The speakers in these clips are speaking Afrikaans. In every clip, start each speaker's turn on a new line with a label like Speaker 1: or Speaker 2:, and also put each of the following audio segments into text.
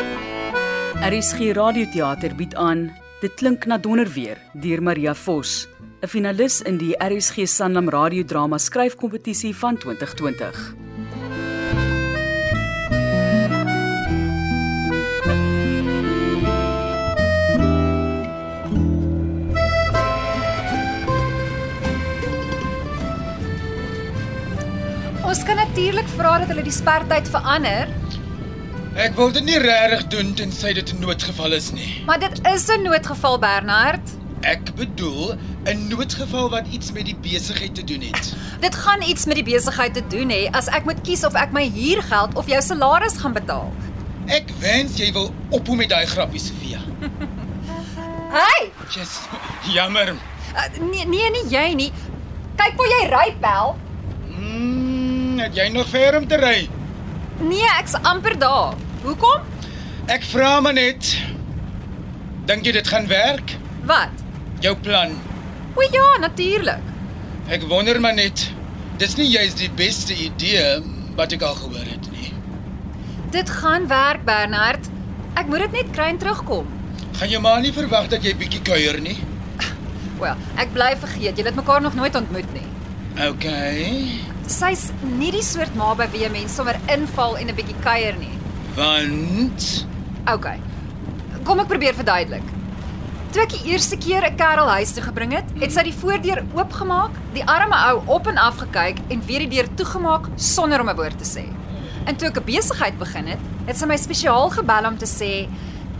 Speaker 1: RSG Radioteater bied aan Dit klink na donder weer deur Maria Vos, 'n finalis in die RSG Sanlam radiodrama skryfkompetisie van 2020.
Speaker 2: Ons kan natuurlik vra dat hulle die spertyd verander,
Speaker 3: Ek wil dit nie regtig doen tensy dit 'n noodgeval is nie.
Speaker 2: maar dit is 'n noodgeval Bernard.
Speaker 3: Ek bedoel 'n noodgeval wat iets met die besigheid te doen het.
Speaker 2: Dit gaan iets met die besigheid te doen hê as ek moet kies of ek my huurgeld of jou salaris gaan betaal.
Speaker 3: Ek wens jy wil ophou met daai grappies, Sofia.
Speaker 2: Hey,
Speaker 3: Jy's jammer.
Speaker 2: uh, nee nee nie jy nie. Kyk waar jy ry, Bel.
Speaker 3: Mm, het jy nog ver om te ry?
Speaker 2: Nee, ek's amper daar. Hoekom?
Speaker 3: Ek vra maar net. Dink jy dit gaan werk?
Speaker 2: Wat?
Speaker 3: Jou plan.
Speaker 2: O ja, natuurlik.
Speaker 3: Ek wonder maar net. Dis nie juis die beste idee wat ek al gehoor het nie.
Speaker 2: Dit gaan werk, Bernard. Ek moet dit net kry en terugkom.
Speaker 3: Gaan jou ma nie verwag dat jy bietjie kuier nie?
Speaker 2: Wel, ja, ek bly vergeet, jy het mekaar nog nooit ontmoet nie.
Speaker 3: Okay.
Speaker 2: Sy's nie die soort ma by wie 'n mens sommer inval en 'n bietjie kuier nie.
Speaker 3: Want
Speaker 2: OK. Kom ek probeer verduidelik. Toe ek die eerste keer 'n kerel huis toe gebring het, het sy die voordeur oopgemaak, die arme ou op en af gekyk en weer die deur toegemaak sonder om 'n woord te sê. En toe ek 'n besigheid begin het, het sy my spesiaal gebel om te sê: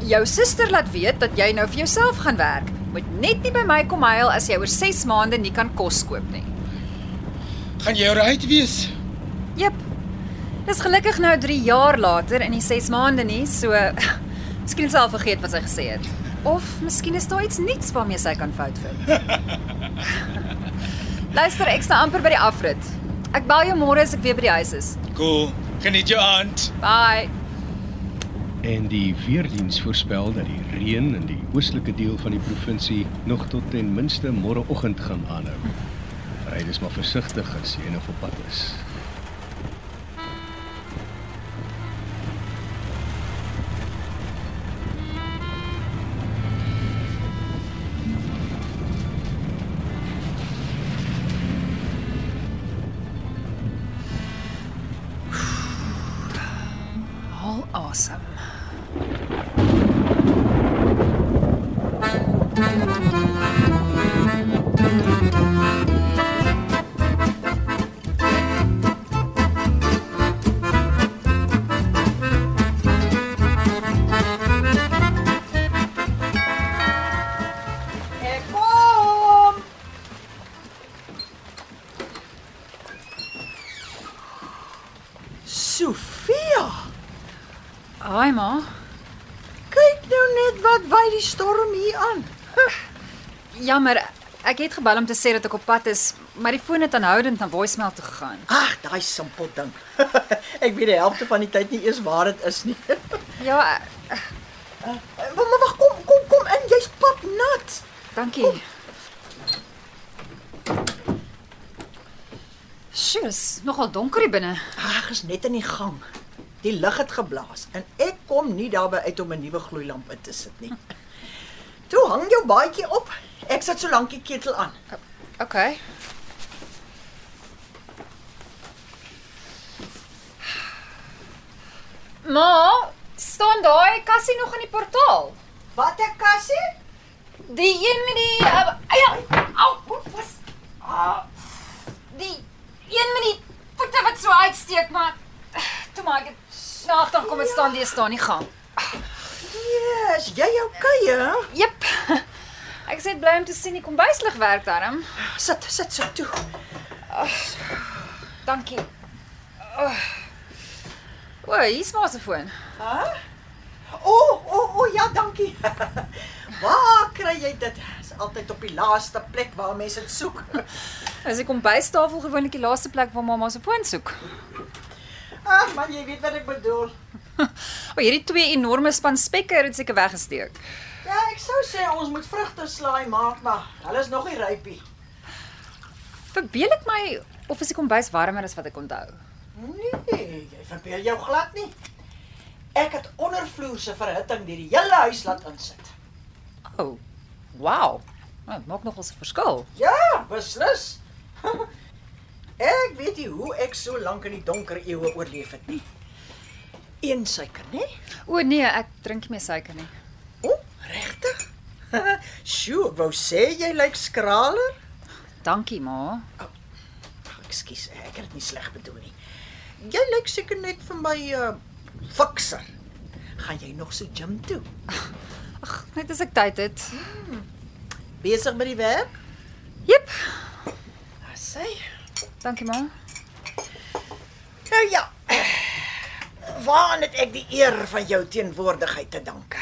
Speaker 2: "Jou suster laat weet dat jy nou vir jouself gaan werk. Moet net nie by my kom huil as jy oor 6 maande nie kan kos koop nie."
Speaker 3: gaan jy alright wees?
Speaker 2: Jep. Dis gelukkig nou 3 jaar later in die 6 maande nie, so miskien het sy al vergeet wat sy gesê het. Of miskien is daar iets niets waarmee sy kan fout vind. Luister, ek staan amper by die afrit. Ek bel jou môre as ek weer by die huis is.
Speaker 3: Cool. Geniet jou aand.
Speaker 2: Bye.
Speaker 4: En die weerdiens voorspel dat die reën in die oostelike deel van die provinsie nog tot ten minste môreoggend gaan aanhou. Ry dus maar versigtig as jy nou op pad is.
Speaker 2: Haal asem.
Speaker 5: Ek kom. Sofia,
Speaker 2: Haai ma.
Speaker 5: kyk nou net wat wy die storm hier aan.
Speaker 2: Jammer, ek het gebel om te sê dat ek op pad is, maar die foon het aanhoudend na voicemail toe gegaan.
Speaker 5: Ag, daai simpel ding. ek weet die helfte van die tyd nie eers waar dit is nie.
Speaker 2: Ja, eh,
Speaker 5: maar maar wag, kom, kom, kom in, jy's pap nat.
Speaker 2: dankie. Sjoes, nogal donker hier binne.
Speaker 5: Ag, is net in die gang. Die lig het geblaas en ek kom nie daarby uit om 'n nuwe gloeilamp in te sit nie. Toe hang jou baadjie op. Ek sit so lank die ketel aan.
Speaker 2: Okay. Ma, staan daai kassie nog in die portaal?
Speaker 5: Wat 'n kassie?
Speaker 2: Die een met die uh, ja, au, hoe vas. Ah, die een met die voete wat eh, so uitsteek, maar toe maar ek dit naag dan kom dit staan, dit staan nie gaan.
Speaker 5: Yes, jy okay, hè?
Speaker 2: Jep. Ek sê bly om te sien die kombuislig werk darm.
Speaker 5: Sit, sit so toe.
Speaker 2: Dankie. Oh. O, oh. hier's maar se foon.
Speaker 5: O, oh, o, oh, o, oh, ja, dankie. waar kry jy dit? Dis altyd op die laaste plek waar mense dit soek.
Speaker 2: Is die kombuistafel gewoonlik die laaste plek waar mamma se foon soek.
Speaker 5: Ag man, jy weet wat ek bedoel.
Speaker 2: O, hierdie twee enorme span spekke het seker weggesteek.
Speaker 5: Ja, ek sou sê ons moet vrugte slaai maak, maar hulle is nog nie rypie.
Speaker 2: Verbeel ek my of is die kombuis warmer as wat ek onthou?
Speaker 5: Nee, jy verbeel jou glad nie. Ek het ondervloerse verhitting deur die hele huis laat insit.
Speaker 2: O. Oh, wow. Oh, Dit maak nogal 'n verskil.
Speaker 5: Ja, beslis. ek weet nie hoe ek so lank in die donker eeue oorleef het nie. Een suiker, né?
Speaker 2: O nee, ek drink nie meer suiker nie.
Speaker 5: O, regtig? Sjoe, wou sê jy lyk skraler?
Speaker 2: Dankie ma.
Speaker 5: Ag, ekskuus, ek het dit nie sleg bedoel nie. Jy lyk seker net vir my uh fikser. Gaan jy nog so gym toe?
Speaker 2: Ag, net as ek tyd het.
Speaker 5: Besig met die werk?
Speaker 2: Jep.
Speaker 5: Ah, sê.
Speaker 2: Dankie ma.
Speaker 5: Nou ja. Waaraan het ek die eer van jou teenwoordigheid te danke?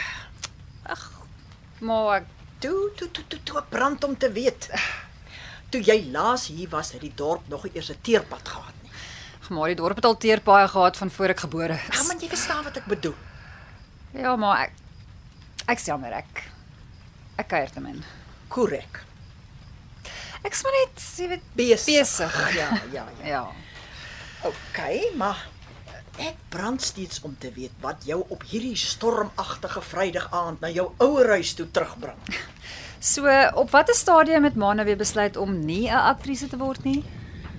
Speaker 2: Ma, ek
Speaker 5: Toe, toe, toe, toe, toe, brand om te weet. Toe jy laas hier was, het die dorp nog nie eers 'n teerpad gehad nie.
Speaker 2: maar die dorp het al teer baie gehad van voor ek gebore
Speaker 5: Ja,
Speaker 2: is.
Speaker 5: man, jy verstaan wat ek bedoel.
Speaker 2: Ja, maar ek ek sê maar ek ek kuier te min.
Speaker 5: Korrek.
Speaker 2: Ek's maar net, jy weet,
Speaker 5: Besig.
Speaker 2: Besig.
Speaker 5: Ja, ja, ja.
Speaker 2: ja.
Speaker 5: OK, maar ek brand steeds om te weet wat jou op hierdie stormagtige Vrydag aand na jou ouer huis toe terugbring.
Speaker 2: So, op watter stadium het Maana weer besluit om nie 'n aktrise te word nie?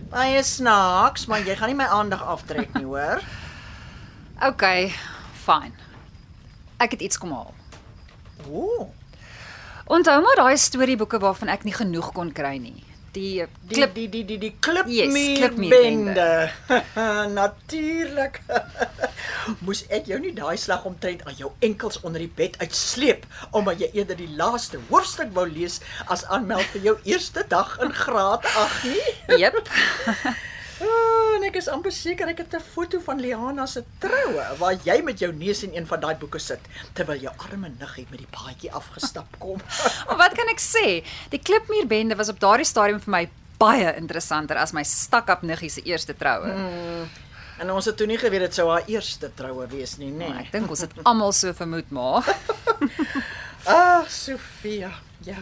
Speaker 5: Baie snaaks, maar jy gaan nie my aandag aftrek nie, hoor.
Speaker 2: OK, fyn. Ek het iets kom haal.
Speaker 5: Ooh.
Speaker 2: Onthou maar daai storieboeke waarvan ek nie genoeg kon kry nie. Die eh,
Speaker 5: Die
Speaker 2: klip
Speaker 5: die die die die
Speaker 2: Yes,
Speaker 5: klipmuurbende.
Speaker 2: klipmuurbende.
Speaker 5: Natuurlik. Moes ek jou nie daai slag omtrent aan jou enkels onder die bed uitsleep omdat jy eerder die laaste hoofstuk wou lees as aanmeld vir jou eerste dag in graad 8 nie?
Speaker 2: Jep.
Speaker 5: Oh, en ek is amper seker ek het 'n foto van Liana se troue waar jy met jou neus in een van daai boeke sit terwyl jou arme niggie met die paadjie afgestap kom.
Speaker 2: Maar wat kan ek sê? Die klipmuurbende was op daardie stadium vir my baie interessanter as my stakkap niggie se eerste troue. Mm.
Speaker 5: en ons het toe nie geweet dit sou haar eerste troue wees nie, nê? Nee.
Speaker 2: Ek dink ons het almal so vermoed, maar
Speaker 5: Ag, Ah, Sofia. Ja.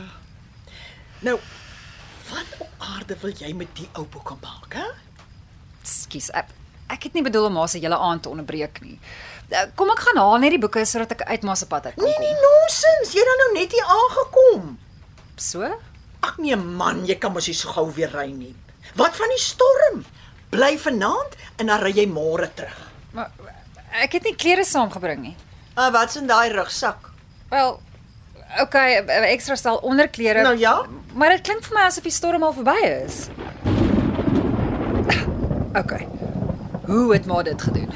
Speaker 5: Nou, wat op aarde wil jy met die ou boek kom maak, hè?
Speaker 2: skus. Ek, ek het nie bedoel om haar se hele aand te onderbreek nie. Eh, Kom ek gaan haal net die boeke sodat ek uit ma se pad uit kan
Speaker 5: Nee,
Speaker 2: kom.
Speaker 5: nee, nonsens. Jy het dan nou net hier aangekom. nee.
Speaker 2: So?
Speaker 5: Ag nee man, jy kan mos nie so gou weer ry nie. Wat van die storm? Bly vanaand en dan ry jy môre terug.
Speaker 2: Maar ek het nie klere saamgebring nie.
Speaker 5: Ah, wat's in daai rugsak?
Speaker 2: Wel, okay, 'n ekstra stel onderklere.
Speaker 5: Nou ja.
Speaker 2: Maar dit klink vir my asof die storm al verby is. Okay. Hoe het maar dit gedoen?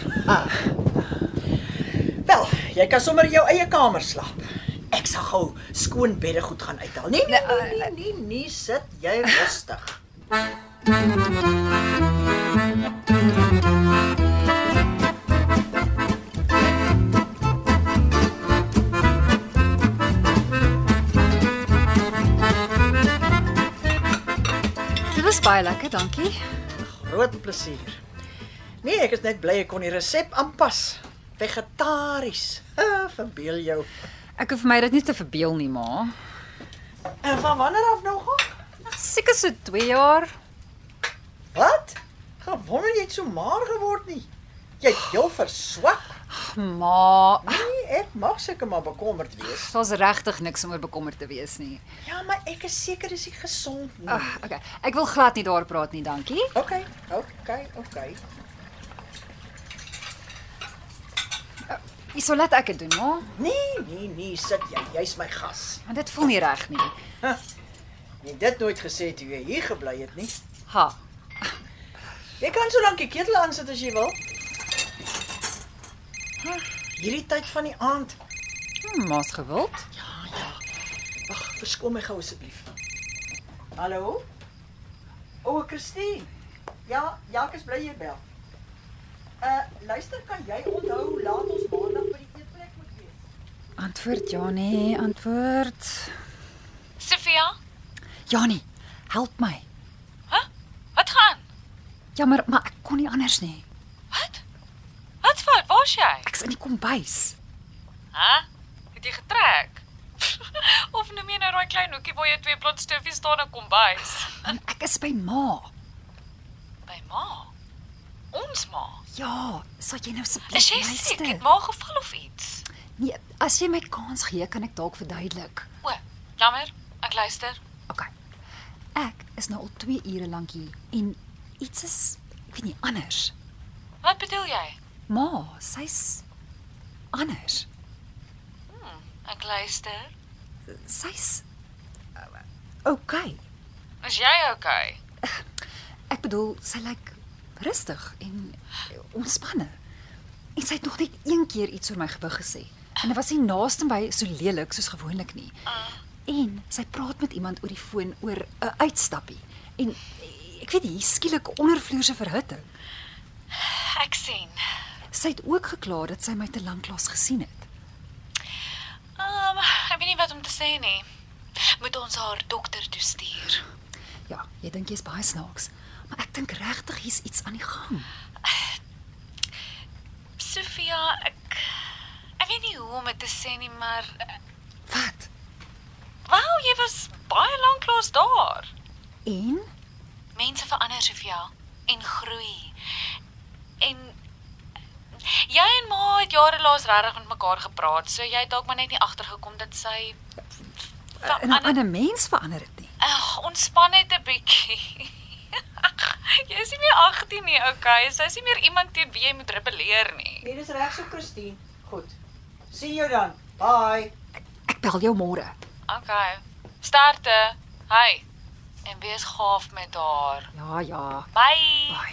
Speaker 5: Wel, jy kan sommer in jou eie kamer slaap. Ek sal gou skoon beddegoed gaan uithaal. Nee, nee, nee, nee, nee, nee sit jy rustig.
Speaker 2: Dit was baie lekker, dankie.
Speaker 5: Groot plesier. Nee, ek is net bly ek kon die resep aanpas. Vegetaries. Ah, verbeel jou.
Speaker 2: Ek hoef my dit nie te verbeel nie, ma.
Speaker 5: En van wanneer af nou gaan?
Speaker 2: Seker so 2 jaar.
Speaker 5: Wat? Gewonder jy het so maar geword nie. Jy het heel verswak.
Speaker 2: Ma,
Speaker 5: Nee, ek mag seker maar bekommerd wees.
Speaker 2: daar's regtig niks om oor bekommerd te wees nie.
Speaker 5: Ja, maar ek is seker dis nie gesond nie.
Speaker 2: Ag, okay. Ek wil glad nie daar praat nie, dankie.
Speaker 5: OK, OK, OK.
Speaker 2: Isolat ek dit doen, ma.
Speaker 5: Nee, nee, nee, sit jy. Jy's my gas.
Speaker 2: Want dit voel nie reg nie.
Speaker 5: Jy het dit nooit gesê toe jy hier gebly het nie.
Speaker 2: Ha.
Speaker 5: Jy kan so lank die ketel aan sit as jy wil. Huh, Hierdie tyd van die aand.
Speaker 2: Hmm, Maas gewild.
Speaker 5: Ja, ja. Wag, verskoon my gou asseblief. Hallo? O, Christine. Ja, Jacques bly hier bel. Uh, luister, kan jy onthou hoe laat ons maandag by die eetplek moet wees?
Speaker 2: Antwoord Janie, antwoord.
Speaker 6: Sofia,
Speaker 2: Janie, help my.
Speaker 6: wat gaan?
Speaker 2: Jammer, maar ek kon nie anders nie.
Speaker 6: Wat? Wat fout? Waar's jy?
Speaker 2: Ek's in die kombuis.
Speaker 6: Hæ? Het jy getrek? of noem jy nou daai klein hoekie waar jy twee blond stoffies staan en kombuis?
Speaker 2: En ek is by ma.
Speaker 6: By ma. Ons ma.
Speaker 2: Ja, sal jy nou asseblief
Speaker 6: Is jy siek? Het ma geval of iets?
Speaker 2: Nee, as jy my kans gee, kan ek dalk verduidelik.
Speaker 6: O, jammer. Ek luister.
Speaker 2: OK. Ek is nou al 2 ure lank hier en iets is ek weet nie anders.
Speaker 6: Wat bedoel jy?
Speaker 2: Ma, sy's anders.
Speaker 6: Ek luister.
Speaker 2: Sy's eh, OK.
Speaker 6: Is jy okay?
Speaker 2: Ek bedoel, sy lyk rustig en ontspanne. En sy het nog net een keer iets oor my gewig gesê. En dit was nie naaste by so lelik soos gewoonlik nie. En sy praat met iemand oor die foon oor 'n uitstappie. En ek weet nie, hier skielik ondervloerse verhitting.
Speaker 6: Ek sien.
Speaker 2: Sy het ook gekla dat sy my te lank lank gesien het.
Speaker 6: Ehm, um, ek weet nie wat om te sê nie. Moet ons haar dokter toe stuur.
Speaker 2: Ja, jy dink jy's baie snaaks, maar ek dink regtig hier's iets aan die gang.
Speaker 6: Sofia, ek ek weet nie hoe om dit te sê nie, maar
Speaker 2: Wat?
Speaker 6: wou jy was baie lank lank daar.
Speaker 2: En
Speaker 6: Mense verander Sofia en groei. En jy en ma het jare laas regtig met mekaar gepraat, so jy het dalk maar net nie agtergekom dat sy
Speaker 2: en 'n ander mens verander dit nie.
Speaker 6: Ag, ontspan net 'n bietjie. jy is nie meer 18 nie, okay? Sy is nie meer iemand teen wie jy moet rebelleer nie.
Speaker 5: Nee, dis reg so, Christine. Goed. Sien jou dan. Bye.
Speaker 2: Ek bel jou môre.
Speaker 6: Okay. Sterkte. Hi. En wees gaaf met haar.
Speaker 2: Ja, ja.
Speaker 6: Bye.
Speaker 2: Baai.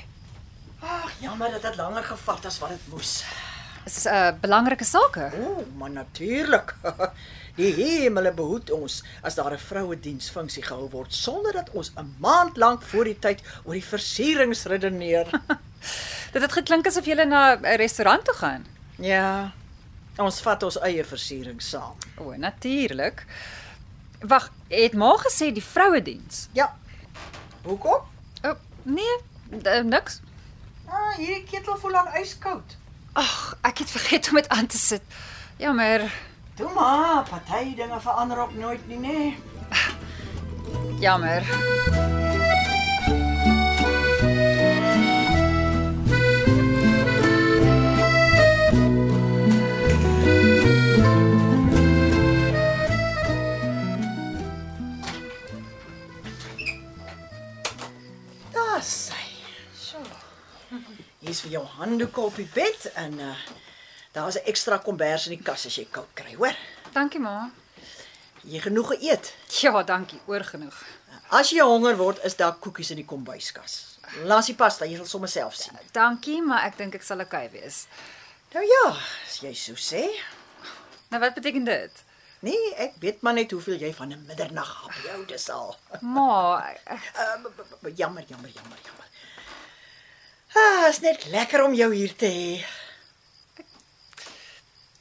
Speaker 5: Ag, jammer dat dit langer gevat as wat dit moes.
Speaker 2: Dis 'n uh, belangrike sake.
Speaker 5: O, maar natuurlik. Die hemel behoed ons as daar 'n vrouediensfunksie gehou word sonder dat ons 'n maand lank voor die tyd oor die versierings redeneer.
Speaker 2: Dit het geklink asof jy na 'n restaurant toe gaan.
Speaker 5: Ja. Ons vat ons eie versiering saam.
Speaker 2: O, natuurlik. Wag, het ma gesê die vrouediens?
Speaker 5: Ja. Hoekom?
Speaker 2: O, nee, d- niks.
Speaker 5: Ah, hierdie ketel voel aan yskoud.
Speaker 2: Ag, ek het vergeet om dit aan te sit. Jammer.
Speaker 5: Toe maar, party dinge verander op nooit nie, nê? Nee.
Speaker 2: Jammer.
Speaker 5: Daar sy. So. Hier's vir jou handdoeke op die bed en uh daar's 'n ekstra kombers in die kas as jy koud kry, hoor.
Speaker 2: Dankie ma.
Speaker 5: Jy genoeg geëet.
Speaker 2: Ja, dankie, oor genoeg.
Speaker 5: As jy honger word, is daar koekies in die kombuiskas. Laat die pasta, jy sal sommer self sien.
Speaker 2: Dankie, maar ek dink ek sal oukei wees.
Speaker 5: Nou ja, as jy so sê.
Speaker 2: Nou wat beteken dit?
Speaker 5: Nee, ek weet maar net hoeveel jy van 'n middernag hap jou dis al.
Speaker 2: Ma, ek-
Speaker 5: Uh, b- b- b- jammer, jammer, jammer, jammer. Ah, is net lekker om jou hier te hê.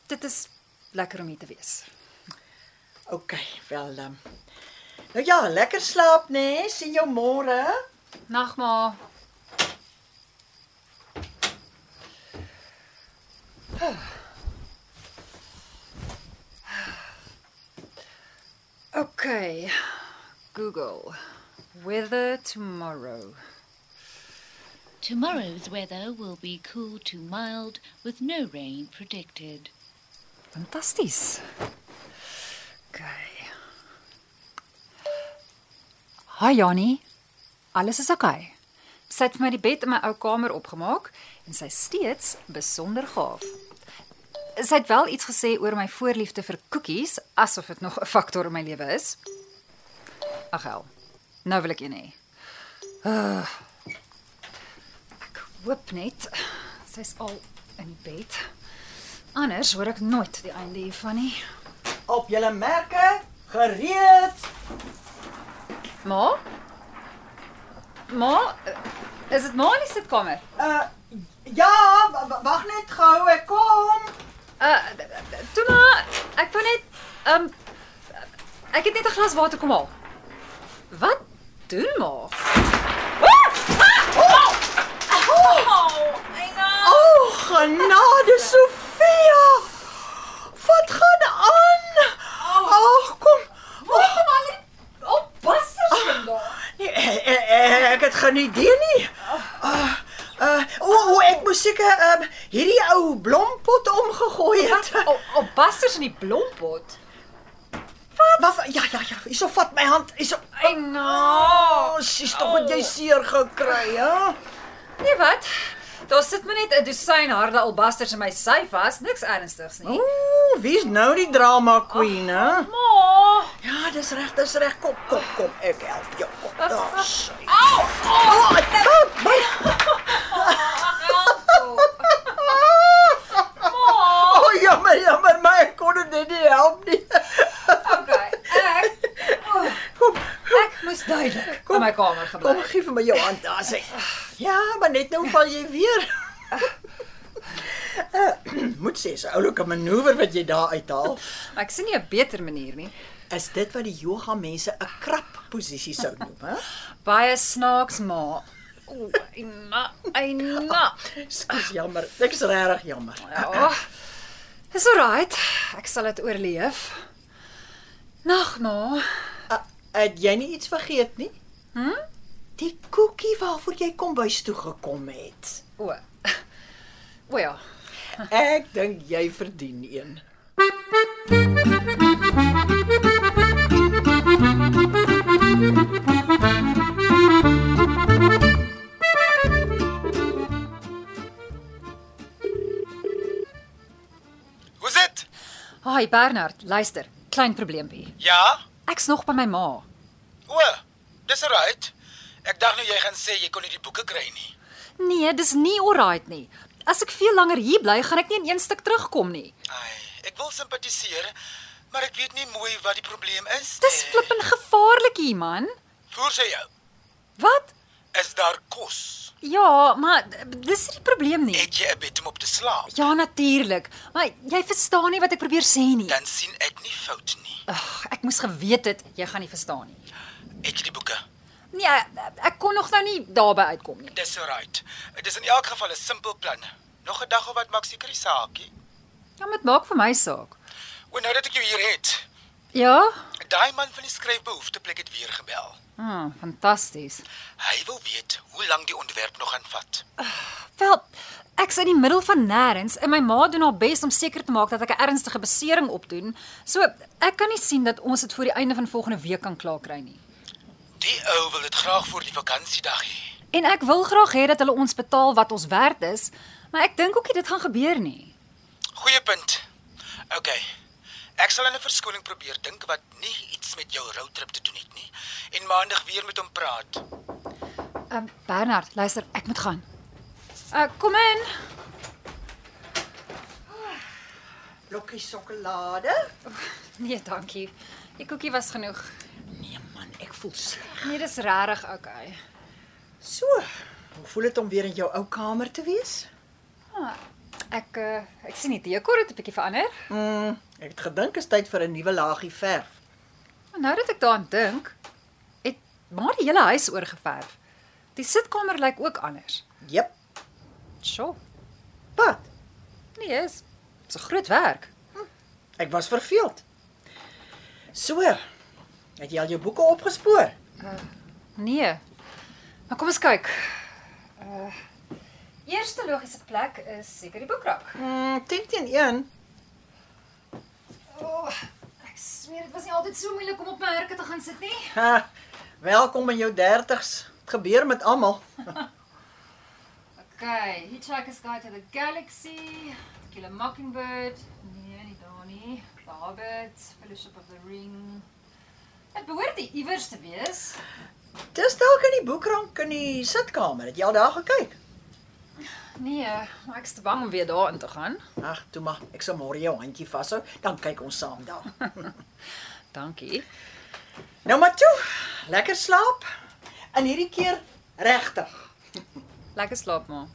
Speaker 2: dit is lekker om hier te wees.
Speaker 5: OK, wel. Um, nou ja, lekker slaap nê. Nee. Sien jou môre.
Speaker 2: Nag ma. Okay. Google weather tomorrow.
Speaker 7: Tomorrow's weather will be cool to mild with no rain predicted.
Speaker 2: Fantasties. Okay. Hi Janie. Alles is okay. Sy het vir my die bed in my ou kamer opgemaak en sy is steeds besonder gaaf. Sy het wel iets gesê oor my voorliefde vir koekies, asof dit nog 'n faktor in my lewe is. Ag hel. Nou wil ek een hê. Uh, ek hoop net sy's al in die bed. Anders hoor ek nooit die einde hiervan nie.
Speaker 5: Op julle merke, gereed.
Speaker 2: Ma? Ma, is dit ma in die sitkamer?
Speaker 5: Uh ja, wa- wa- wag net gou, ek kom.
Speaker 2: Uh toe maar, ek wou net ehm um, ek het net 'n glas water kom haal. Wat doen ma? Ah!
Speaker 5: O, oh, genade Sofia. Wat gaan aan? Ag, oh, kom. Kom al
Speaker 2: Op bassers vandag.
Speaker 5: Nee, eh, eh, ek het geen idee nie. Uh, uh, o, o, ek moes seker um, hierdie ou blompot omgegooi
Speaker 2: Ja.
Speaker 5: het.
Speaker 2: Op, op bassers in die blompot.
Speaker 5: Wag, ja, ja, ja, hierso vat my hand. Hierso.
Speaker 2: Ai nou. na.
Speaker 5: Oh, sies tog wat jy seer gekry, hè?
Speaker 2: Nee wat? Daar sit maar net 'n dosyn harde albasters in my sy vas, niks ernstigs nie.
Speaker 5: Ooh, wie's nou die drama queen, hè?
Speaker 2: Ma.
Speaker 5: Ja, dis reg, dis reg. Kom, kom, kom. Ek help jou. Kom. Daar. sy.
Speaker 2: Au!
Speaker 5: O, ek help my. O, oh, jammer, jammer, maar ek kon dit net nie help nie.
Speaker 2: Okay. Ek oh,
Speaker 5: Kom,
Speaker 2: ek moes duidelik
Speaker 5: Kom.
Speaker 2: in my kamer
Speaker 5: kom
Speaker 2: gebly.
Speaker 5: gee vir my jou hand daar sê. Ja, maar net nou val jy weer. Eh, Moet sê, so oulike manoeuvre wat jy daar uithaal.
Speaker 2: Ek sien nie 'n beter manier nie.
Speaker 5: Is dit wat die yoga mense 'n krap posisie sou noem, hè?
Speaker 2: Baie snaaks ma. Ooh, eina, eina.
Speaker 5: Skus, jammer. Ek is regtig jammer. Ah,
Speaker 2: Ja. Dis alright. Ek sal dit oorleef. Nag ma.
Speaker 5: Uh, het jy nie iets vergeet nie? Hm? Die koekie waarvoor jy kombuis toe gekom het.
Speaker 2: O. O ja.
Speaker 5: Ek dink jy verdien een.
Speaker 3: Hoe's dit?
Speaker 2: Haai Bernard, luister. Klein probleempie.
Speaker 3: Ja?
Speaker 2: Ek's nog by my ma.
Speaker 3: O, dis reg. Ek dink nou jy gaan sê jy kon nie die boeke kry nie.
Speaker 2: Nee, dis nie alright nie. As ek veel langer hier bly, gaan ek nie in een stuk terugkom nie.
Speaker 3: Ai, ek wil simpatiseer, maar ek weet nie mooi wat die probleem is.
Speaker 2: Dis
Speaker 3: nie.
Speaker 2: flippend gevaarlik hier, man.
Speaker 3: Voor sê jou,
Speaker 2: Wat?
Speaker 3: is daar kos?
Speaker 2: Ja, maar dis nie die probleem nie.
Speaker 3: Het jy 'n bed om op te slaap?
Speaker 2: Ja, natuurlik. Maar jy verstaan nie wat ek probeer sê nie.
Speaker 3: Dan sien ek nie fout nie.
Speaker 2: Ag, ek moes geweet het jy gaan nie verstaan nie.
Speaker 3: Het jy die boeke?
Speaker 2: Nee, ek- ek kon nog nou nie daarby uitkom nie.
Speaker 3: Dis reg. Dit is in elk geval 'n simpel plan. Nog 'n dag of wat maak seker die saakie.
Speaker 2: Ja, maar dit maak vir my saak.
Speaker 3: O, nou dat ek jou hier het.
Speaker 2: Ja?
Speaker 3: Daai man van die skryfbehoefteplek het weer gebel.
Speaker 2: Ah, fantasties.
Speaker 3: Hy wil weet hoe lank die ontwerp nog gaan vat.
Speaker 2: Wel, ek's in die middel van nêrens en my ma doen haar bes om seker te maak dat ek 'n ernstige besering opdoen. So, ek kan nie sien dat ons dit voor die einde van volgende week kan klaar kry nie.
Speaker 3: Die ou wil dit graag voor die vakansiedag hê.
Speaker 2: En ek wil graag hê dat hulle ons betaal wat ons werd is, maar ek dink ookie dit gaan gebeur nie.
Speaker 3: Goeie punt. OK. Ek sal aan 'n verskoning probeer dink wat nie iets met jou roadtrip te doen het nie en maandag weer met hom praat.
Speaker 2: Ehm um, Bernard, luister, ek moet gaan. Uh kom in.
Speaker 5: Blokkie sjokolade.
Speaker 2: Nee, dankie. Die koekie was genoeg.
Speaker 5: Nee man, ek voel sleg.
Speaker 2: Nee, dis regtig okay.
Speaker 5: So, hoe voel dit om weer in jou ou kamer te wees?
Speaker 2: Ek uh, ek sien die dekor het 'n bietjie verander.
Speaker 5: Mm, ek het gedink is tyd vir 'n nuwe laagie verf.
Speaker 2: Maar nou dat ek daaraan dink, het maar die hele huis oorgeverf. Die sitkamer lyk ook anders.
Speaker 5: Jep.
Speaker 2: Sjoe.
Speaker 5: Wat?
Speaker 2: Nee, is dit's 'n groot werk.
Speaker 5: Ek was verveeld. So, het jy al jou boeke opgespoor?
Speaker 2: Nee. Maar kom ons kyk. Uh Eerste logiese plek is seker die boekrak.
Speaker 5: Mm, 10 teen 1.
Speaker 2: O, oh, ek sweer dit was nie altyd so moeilik om op my herke te gaan sit nie.
Speaker 5: Ha, welkom in jou 30's. Dit gebeur met almal.
Speaker 2: Okay, Hitchhiker's Guide to the Galaxy, To Kill a Mockingbird. Nee, nie daar nie. The Hobbit, Fellowship of the Ring. Dit behoort die iewers te wees.
Speaker 5: Dis dalk in die boekrank in die sitkamer. Het jy al daar gekyk?
Speaker 2: Nee, maar ek's te bang om weer daarin te gaan.
Speaker 5: Ag, toe maar, ek sal môre jou handjie vashou, dan kyk ons saam daar.
Speaker 2: Dankie.
Speaker 5: nou maar toe. Lekker slaap. En hierdie keer regtig.
Speaker 2: Lekker slaap maar.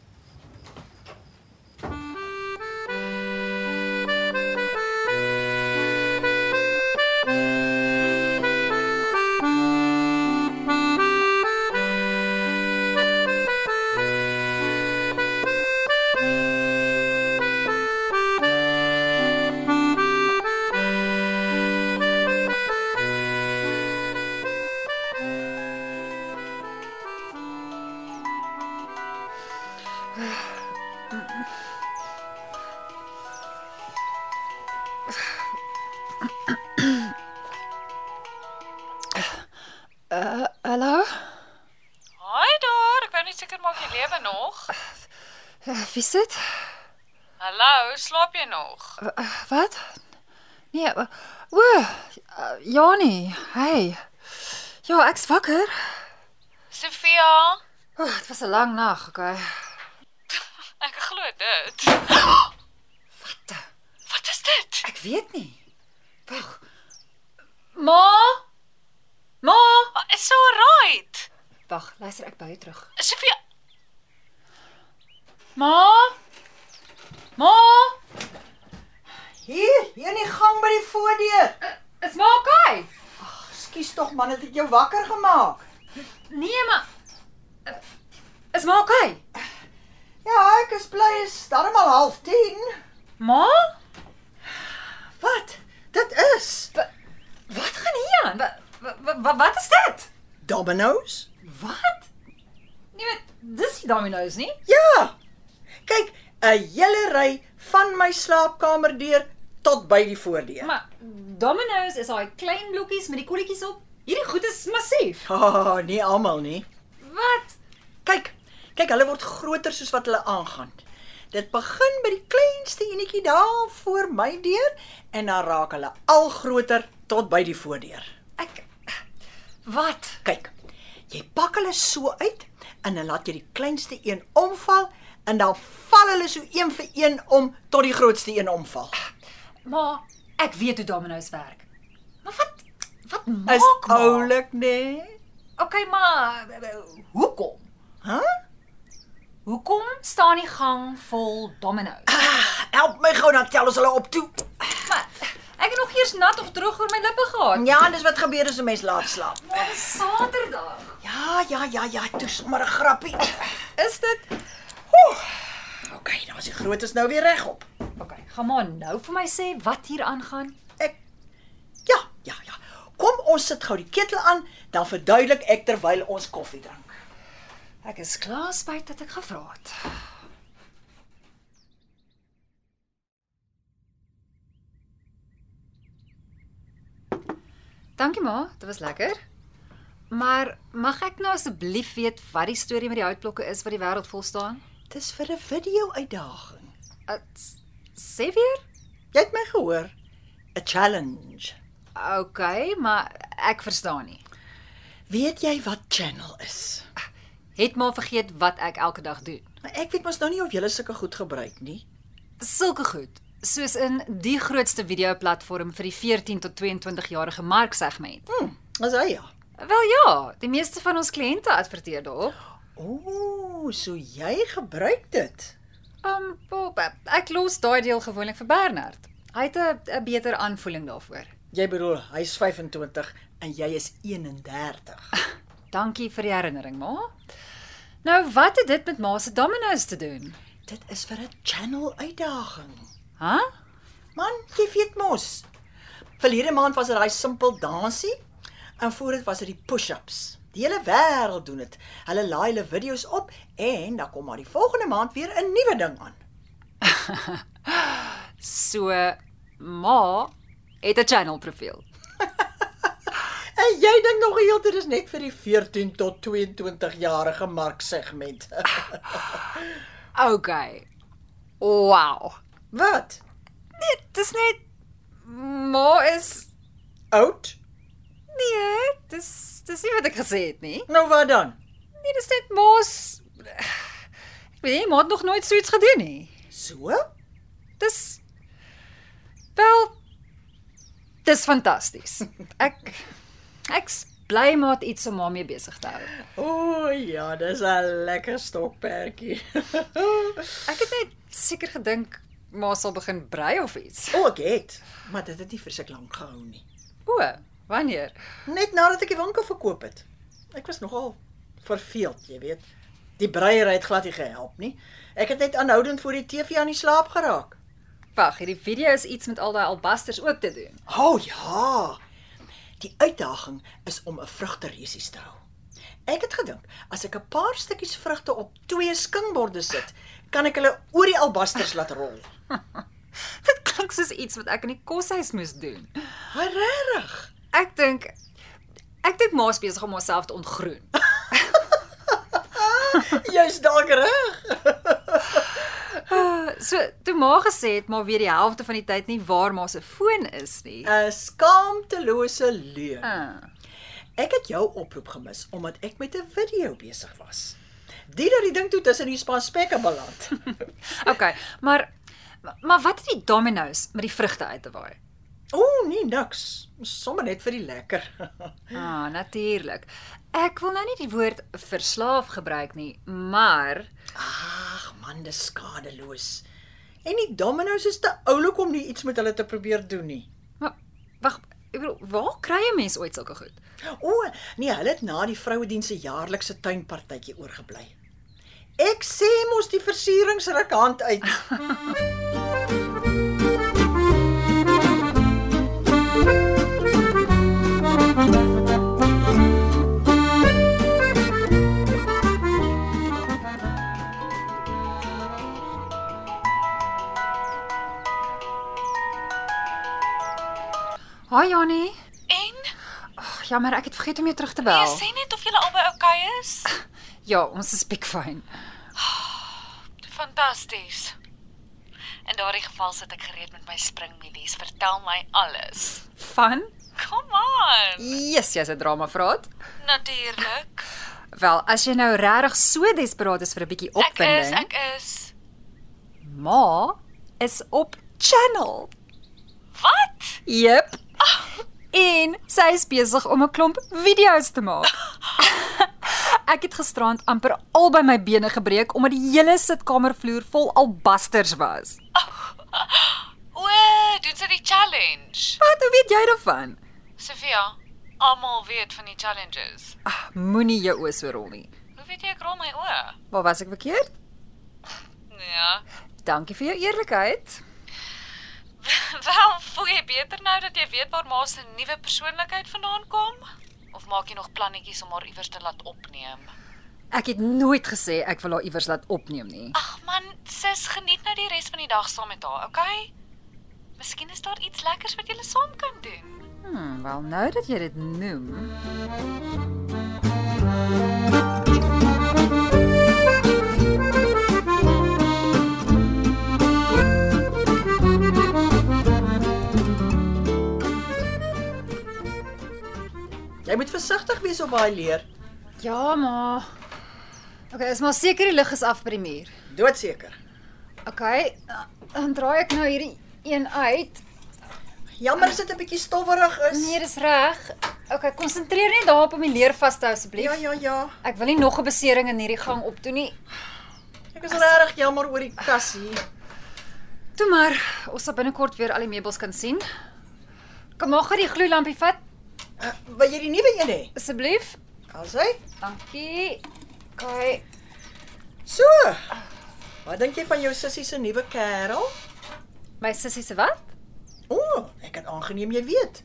Speaker 2: Hallo.
Speaker 6: Haai daar, ek wou net seker maak jy lewe nog.
Speaker 2: Eh, Wie sit?
Speaker 6: Hallo, slaap jy nog?
Speaker 2: Eh, Wat? Nee. O, eh, Janie. Hey. Ja, ek's wakker.
Speaker 6: Sofia,
Speaker 2: O, dit was 'n lang nag, okay.
Speaker 6: ek glo dit. Wat is dit?
Speaker 2: Ek weet nie. Wag. Ma? Ma?
Speaker 6: Is Ah, so right.
Speaker 2: Wag, luister ek by jou terug.
Speaker 6: Sofia,
Speaker 2: Ma? Ma?
Speaker 5: Hier, hier in die gang by die voordeur.
Speaker 2: Is ma okay?
Speaker 5: Ekskuus tog man, het ek jou wakker gemaak?
Speaker 2: Nee, maar Is ma okay?
Speaker 5: Ja, ek is bly is darm al 09:30.
Speaker 2: Ma?
Speaker 5: Wat? Dit is
Speaker 2: Wat gaan hier aan? Wa- wa- wa- wa- Wat is dit?
Speaker 5: Domino's?
Speaker 2: Wat? Nee, maar dis nie domino's nie.
Speaker 5: Ja. Kyk, 'n hele ry van my slaapkamerdeur tot by die voordeur.
Speaker 2: Maar domino's is daai klein blokkies met die kolletjies op. Hierdie goed is massief.
Speaker 5: Oh, nie almal nie.
Speaker 2: Wat?
Speaker 5: Kyk, kyk, hulle word groter soos wat hulle aangaan. Dit begin by die kleinste enetjie daar voor my deur en dan raak hulle al groter tot by die voordeur.
Speaker 2: Ek Wat?
Speaker 5: Kyk. Jy pak hulle so uit en dan laat jy die kleinste een omval en dan val hulle so een vir een om tot die grootste een omval.
Speaker 2: Ma, ek weet hoe domino's werk. Maar wat wat
Speaker 5: Is
Speaker 2: maak ma?
Speaker 5: oulik, né?
Speaker 2: Okay, maar hoekom?
Speaker 5: Hæ?
Speaker 2: Hoekom staan die gang vol
Speaker 5: Ah.
Speaker 2: domino's?
Speaker 5: Help my gou dan tel ons hulle op toe.
Speaker 2: Maar ek het nog eers nat of droog oor my lippe gehad.
Speaker 5: Ja, dis wat gebeur as 'n mens laat slaap.
Speaker 2: Maar dis Saterdag.
Speaker 5: Ja, ja, ja, ja, toe sommer 'n grappie.
Speaker 2: Is dit?
Speaker 5: OK, daar's die grootes nou weer regop.
Speaker 2: Okay, gaan maar nou vir my sê wat hier aangaan.
Speaker 5: Ek Ja, ja, ja. Kom ons sit gou die ketel aan, dan verduidelik ek terwyl ons koffie drink.
Speaker 2: Ek is klaar spyt dat ek gevra het. Dankie ma, dit was lekker. Maar mag ek nou asseblief weet wat die storie met die houtblokke is wat die wêreld vol staan?
Speaker 5: Dis vir 'n video uitdaging.
Speaker 2: Uh, s- Sê weer?
Speaker 5: Jy het my gehoor. 'n Challenge.
Speaker 2: OK, maar ek verstaan nie.
Speaker 5: Weet jy wat channel is?
Speaker 2: Het maar vergeet wat ek elke dag doen.
Speaker 5: Maar ek weet mos nou nie of julle sulke goed gebruik nie.
Speaker 2: Sulke goed, soos in die grootste videoplatform vir die 14 tot 22 jarige marksegment.
Speaker 5: Hm, as hy ja.
Speaker 2: Wel ja, die meeste van ons kliënte adverteer daarop.
Speaker 5: Ooh, so jy gebruik dit.
Speaker 2: Um Bob, ek los daai deel gewoonlik vir Bernard. Hy het 'n- 'n beter aanvoeling daarvoor.
Speaker 5: Jy bedoel, hy's 25 en jy is 31.
Speaker 2: Dankie vir die herinnering, ma. Nou, wat het dit met ma se domino's te doen?
Speaker 5: Dit is vir 'n channel uitdaging.
Speaker 2: Ha?
Speaker 5: Man, jy weet mos. Verlede maand was dit daai simpel dansie en voor dit was dit die push-ups. Die hele wêreld doen dit. Hulle laai hulle video's op en dan kom maar die volgende maand weer 'n nuwe ding aan.
Speaker 2: So ma het 'n channel profiel.
Speaker 5: En jy dink nog heeltyd is net vir die 14 tot 22 jarige marksegment.
Speaker 2: OK. Wow.
Speaker 5: Wat?
Speaker 2: Dit dis net ma is
Speaker 5: Oud?
Speaker 2: nee, dis dis nie wat ek gesê het nie.
Speaker 5: Nou wat dan?
Speaker 2: Nee, dis net mos Wie, maar het nog nooit so iets gedoen nie.
Speaker 5: So?
Speaker 2: Dis wel dis fantasties. Ek ek's bly maar het iets om haar mee besig te hou.
Speaker 5: O oh, ja, dis 'n lekker stokperdjie.
Speaker 2: Ek het net seker gedink maar sal begin brei of iets.
Speaker 5: o, Oh, ek het, maar dit het nie versek lank gehou nie.
Speaker 2: O, wanneer?
Speaker 5: Net nadat ek die winkel verkoop het. Ek was nogal verveeld, jy weet. Die breiery het glad nie gehelp nie. Ek het net aanhoudend voor die TV aan die slaap geraak.
Speaker 2: Wag, hierdie video is iets met al daai albasters ook te doen.
Speaker 5: O oh, ja. Die uitdaging is om 'n vrugteresies te hou. Ek het gedink as ek 'n paar stukkies vrugte op twee skingborde sit, kan ek hulle oor die albasters laat rol.
Speaker 2: Dit klink soos iets wat ek in die koshuis moes doen.
Speaker 5: Regtig?
Speaker 2: Ek dink ek dink ma's besig om haarself te ontgroen.
Speaker 5: Jy's dalk reg.
Speaker 2: So, toe ma gesê het maar weer die helfte van die tyd nie waar ma se foon is nie.
Speaker 5: 'n Skaamtelose leuen.
Speaker 2: Uh,
Speaker 5: Ek het jou oproep gemis omdat ek met 'n video besig was. Die dat die ding toe tussen die spanspekke beland.
Speaker 2: okay, maar maar wat het die Domino's met die vrugte uit te waai?
Speaker 5: O, oh, nee niks, sommer net vir die lekker.
Speaker 2: Ah, natuurlik. Ek wil nou nie die woord verslaaf gebruik nie, maar
Speaker 5: Ag man, dis skadeloos. En die domino's is te oulik om nie iets met hulle te probeer doen nie.
Speaker 2: maar wag, ek bedoel, waar kry 'n mens ooit sulke goed?
Speaker 5: O, oh, nee, hulle het na die vrouediens se jaarlikse tuinpartytjie oorgebly. Ek sê mos die versierings ruk hand uit.
Speaker 2: Haai Janie.
Speaker 6: En
Speaker 2: Ag, jammer, ek het vergeet om jou terug te
Speaker 6: jy
Speaker 2: bel.
Speaker 6: Nee, sê net of julle albei oukei is.
Speaker 2: Ja, ons is big fine.
Speaker 6: Fantasties. In daardie geval sit ek gereed met my springmielies. Vertel my alles.
Speaker 2: Van?
Speaker 6: Kom aan.
Speaker 2: Yes, jy's 'n dramavraat.
Speaker 6: Natuurlik.
Speaker 2: Wel, as jy nou regtig so desperaat is vir 'n bietjie
Speaker 6: Ek is,
Speaker 2: opwinding,
Speaker 6: ek is.
Speaker 2: ma is op channel.
Speaker 6: Wat?
Speaker 2: Jep. En sy is besig om 'n klomp video's te maak. Ek het gisterand amper albei my bene gebreek omdat die hele sitkamervloer vol albasters was.
Speaker 6: O, doen sy die challenge.
Speaker 2: Wat, hoe weet jy daarvan?
Speaker 6: Sofia, almal weet van die challenges.
Speaker 2: Ag, moenie jou oë so rol nie.
Speaker 6: Hoe weet jy ek rol my oë?
Speaker 2: Waar was ek verkeerd?
Speaker 6: Ja.
Speaker 2: Dankie vir jou eerlikheid.
Speaker 6: Wel, voel jy beter nou dat jy weet waar ma se nuwe persoonlikheid vandaan kom? Of maak jy nog plannetjies om haar iewers te laat opneem?
Speaker 2: Ek het nooit gesê ek wil haar iewers laat opneem nie.
Speaker 6: Ag man, sis, geniet nou die res van die dag saam met haar, okay? Miskien is daar iets lekkers wat julle saam kan doen.
Speaker 2: Hmm, wel nou dat jy dit noem.
Speaker 5: Jy moet versigtig wees op daai leer.
Speaker 2: Ja, ma. Okay, is maar seker die lig is af by die muur.
Speaker 5: Doodseker.
Speaker 2: Okay, dan draai ek nou hierdie een uit.
Speaker 5: Jammer as dit 'n bietjie stowwerig is.
Speaker 2: Nee, dis reg. Okay, konsentreer net daarop om die leer vas te hou asseblief.
Speaker 5: ja, ja, ja.
Speaker 2: Ek wil nie nog 'n besering in hierdie gang opdoen nie.
Speaker 5: Ek is regtig jammer oor die kassie.
Speaker 2: Toe maar, ons sal binnekort weer al die meubels kan sien. Kom maar gou die gloeilampie vat
Speaker 5: Uh, wil jy die nuwe een hê?
Speaker 2: asseblief.
Speaker 5: As hy?
Speaker 2: Dankie. Okay.
Speaker 5: So. Wat dink jy van jou sussie se nuwe kerel?
Speaker 2: My sussie se wat?
Speaker 5: O, oh, ek het aangeneem jy weet.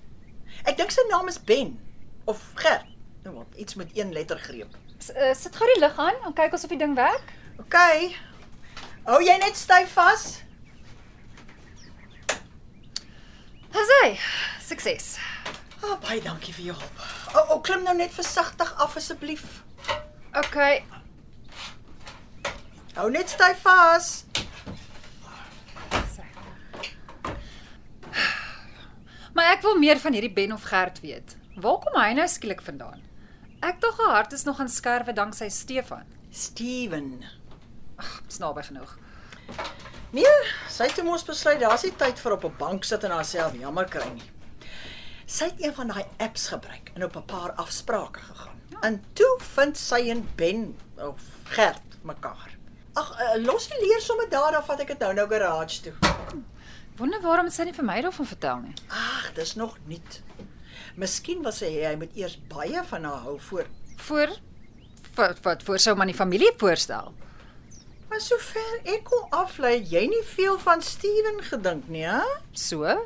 Speaker 5: Ek dink sy naam is Ben of Gert. Nou wat, iets met een lettergreep.
Speaker 2: S uh, sit gou die lig aan en kyk of die ding werk.
Speaker 5: OK. Hou jy net styf vas?
Speaker 2: Dis hy. Sukses.
Speaker 5: O, oh, baie dankie vir jou hulp. O, oh, oh, klim nou net versigtig af asseblief.
Speaker 2: Okay.
Speaker 5: Hou net styf vas.
Speaker 2: Maar ek wil meer van hierdie Ben of Gert weet. Waar kom hy nou skielik vandaan? Ek dink haar hart is nog aan skerwe danksy Stefan.
Speaker 5: Steven.
Speaker 2: Dis naby genoeg.
Speaker 5: Nee, sy het toe mos besluit daar's nie tyd vir op 'n bank sit en haarself jammer kry nie. Sy het een van daai apps gebruik en op 'n paar afsprake gegaan. En toe vind sy en Ben of Gert mekaar. Ag, eh, los die leer sommer daar dan vat ek dit nou nou garage toe.
Speaker 2: Wonder waarom het sy nie vir my daarvan vertel nie.
Speaker 5: Ag, dis nog nie. Miskien wil sy hê hy moet eers baie van haar hou voor.
Speaker 2: Voor wat wat voor sou man die familie voorstel.
Speaker 5: Maar sover ek kon aflei, jy nie veel van Steven gedink nie, hè?
Speaker 2: So?
Speaker 5: Ah,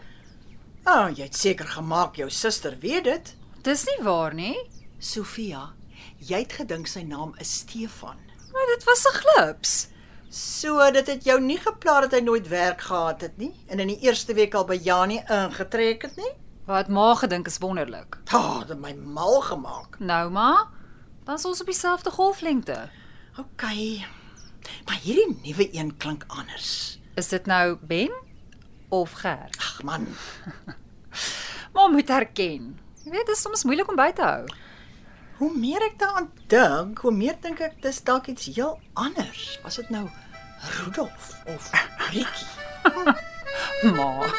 Speaker 5: oh, jy het seker gemaak jou suster weet dit.
Speaker 2: Dis nie waar nie.
Speaker 5: Sofia, jy het gedink sy naam is Stefan.
Speaker 2: Maar dit was 'n glips.
Speaker 5: So dit het jou nie gepla dat hy nooit werk gehad het nie en in die eerste week al by Janie ingetrek het nie?
Speaker 2: Wat ma gedink is wonderlik.
Speaker 5: Ha, oh, dit het my mal gemaak.
Speaker 2: Nou maar, dan is ons op dieselfde golflengte.
Speaker 5: OK. Maar hierdie nuwe een klink anders.
Speaker 2: Is dit nou Ben of Ger?
Speaker 5: Ag man,
Speaker 2: Ma moet erken. Jy weet, dit is soms moeilik om by te hou.
Speaker 5: hoe meer ek daaraan dink, hoe meer dink ek dis dalk iets heel anders. Was dit nou Rudolf of Rikki?
Speaker 2: Ma.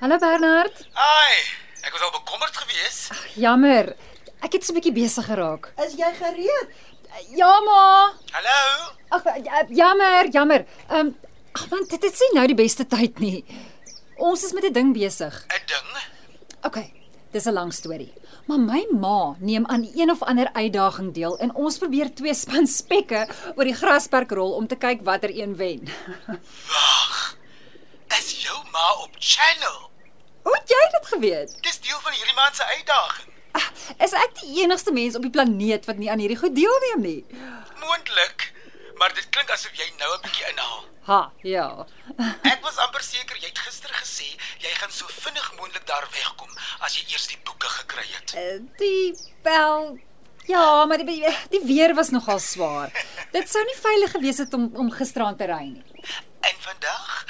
Speaker 2: Hallo Bernard.
Speaker 3: Ai, ek was al bekommerd geweest.
Speaker 2: Jammer. Ek het so 'n bietjie besig geraak.
Speaker 5: Is jy gereed?
Speaker 2: Ja, ma.
Speaker 3: Hallo.
Speaker 2: Ag ja, jammer, jammer. Ehm um, ag want dit is nie nou die beste tyd nie. Ons is met 'n ding besig.
Speaker 3: 'n Ding.
Speaker 2: OK, dis 'n lang storie. Maar my ma neem aan een of ander uitdaging deel en ons probeer twee span spekke oor die grasperk rol om te kyk watter een wen.
Speaker 3: Is jou ma op channel?
Speaker 2: Hoe het jy dit geweet?
Speaker 3: Dis deel van hierdie man se uitdaging.
Speaker 2: Is ek die enigste mens op die planeet wat nie aan hierdie goed deelneem nie?
Speaker 3: Moontlik, maar dit klink asof jy nou 'n bietjie inhaal.
Speaker 2: Ha, ja.
Speaker 3: Ek was amper seker jy het gister gesê jy gaan so vinnig moontlik daar wegkom as jy eers die boeke gekry het.
Speaker 2: Eh, Die wel ja, maar die, die weer was nogal swaar. Dit sou nie veilig gewees het om om gisteraan te ry nie.
Speaker 3: En vandag,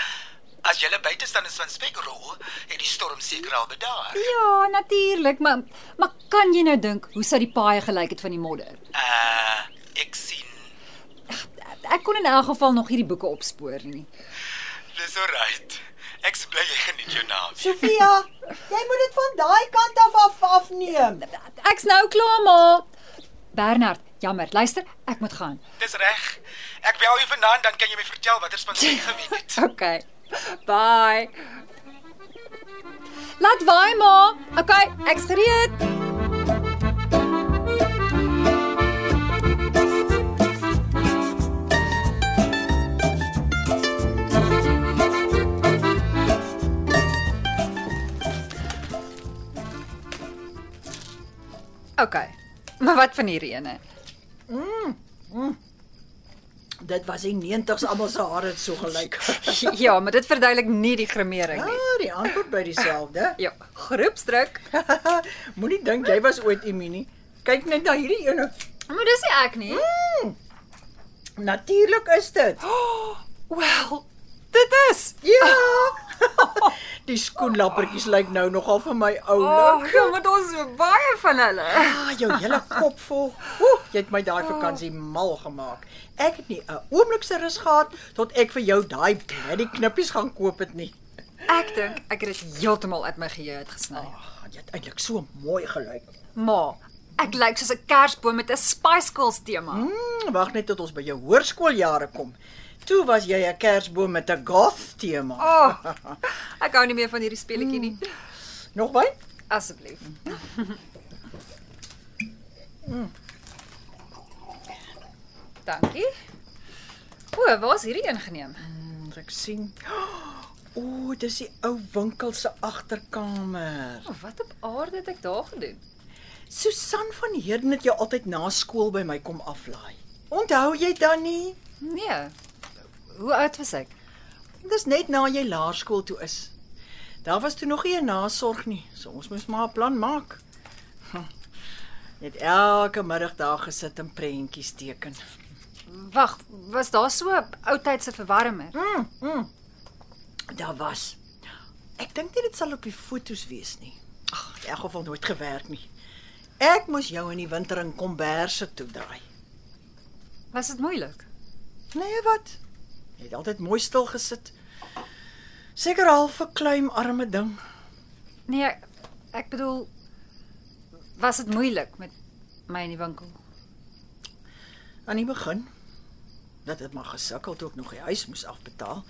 Speaker 3: as jy buite staan en van spek rol, het die storm seker al bedaar.
Speaker 2: Ja, natuurlik, maar maar kan jy nou dink hoe sou die paaie gelyk het van die modder?
Speaker 3: Uh, ek sien.
Speaker 2: Ek kon in elk geval nog hierdie boeke opspoor nie.
Speaker 3: Dis alright. Ek is bly jy geniet jou naam.
Speaker 5: Sofia, jy moet dit van daai kant af af afneem.
Speaker 2: Ek's nou klaar maar. Bernard, jammer, luister, ek moet gaan.
Speaker 3: Dis reg. Ek bel jou vanaand dan kan jy my vertel watter span jy gewen het.
Speaker 2: Okay. Bye. Laat waai maar. Okay, ek's gereed. Okay. Maar wat van hierdie ene?
Speaker 5: Dit was die 90s almal se hare het so gelyk.
Speaker 2: Ja, maar dit verduidelik nie die grimering
Speaker 5: Ja,
Speaker 2: nie.
Speaker 5: die antwoord by dieselfde.
Speaker 2: Ja, groepsdruk.
Speaker 5: Moenie dink jy was ooit immuun nie. Kyk net na hierdie een.
Speaker 2: Maar dis nie ek nie.
Speaker 5: Natuurlik is dit.
Speaker 2: Wel, dit is.
Speaker 5: Ja. die skoenlappertjies lyk nou nogal vir my oulik.
Speaker 2: ja, maar daar's so baie van hulle.
Speaker 5: Ah, jou hele kop vol. Oeh, jy het my daai vakansie mal gemaak. Ek het nie 'n oomblik se rus gehad tot ek vir jou daai bloody knippies gaan koop het nie.
Speaker 2: Ek dink ek het dit heeltemal uit my geheue uitgesny.
Speaker 5: Ag, jy het eintlik so mooi gelyk.
Speaker 2: Ma, ek lyk soos 'n kersboom met 'n Spice Girls tema.
Speaker 5: Hmm, Wag net tot ons by jou hoërskooljare kom. Toe was jy 'n kersboom met 'n goth tema.
Speaker 2: O, oh, ek hou nie meer van hierdie speletjie nie.
Speaker 5: Nog wyn?
Speaker 2: Asseblief. Hmm. Dankie. O, waar's hierdie een geneem?
Speaker 5: Moet ek sien. O, dis die ou winkel se agterkamer.
Speaker 2: O, wat op aarde het ek daar gedoen?
Speaker 5: Susan van Heerden het jou altyd na skool by my kom aflaai. Onthou jy dan nie?
Speaker 2: Nee. Hoe oud was ek?
Speaker 5: Dis net na jy laerskool toe is. Daar was toe nog nie 'n nasorg nie, so ons moes maar 'n plan maak. Hm. Net elke middag daar gesit en prentjies teken.
Speaker 2: Wag, was daar so 'n ou tydse verwarmer?
Speaker 5: Mm, Daar was. Ek dink nie dit sal op die fotos wees nie. Ag, in elk geval nooit gewerk nie. Ek moes jou in die winter in komberse toe draai.
Speaker 2: Was dit moeilik?
Speaker 5: Nee, wat? Jy het altyd mooi stil gesit. Seker half verkleim arme ding.
Speaker 2: Nee, ek- ek bedoel was dit moeilik met my in die winkel?
Speaker 5: Aan die begin dat dit maar gesukkel toe ek nog die huis moes afbetaal.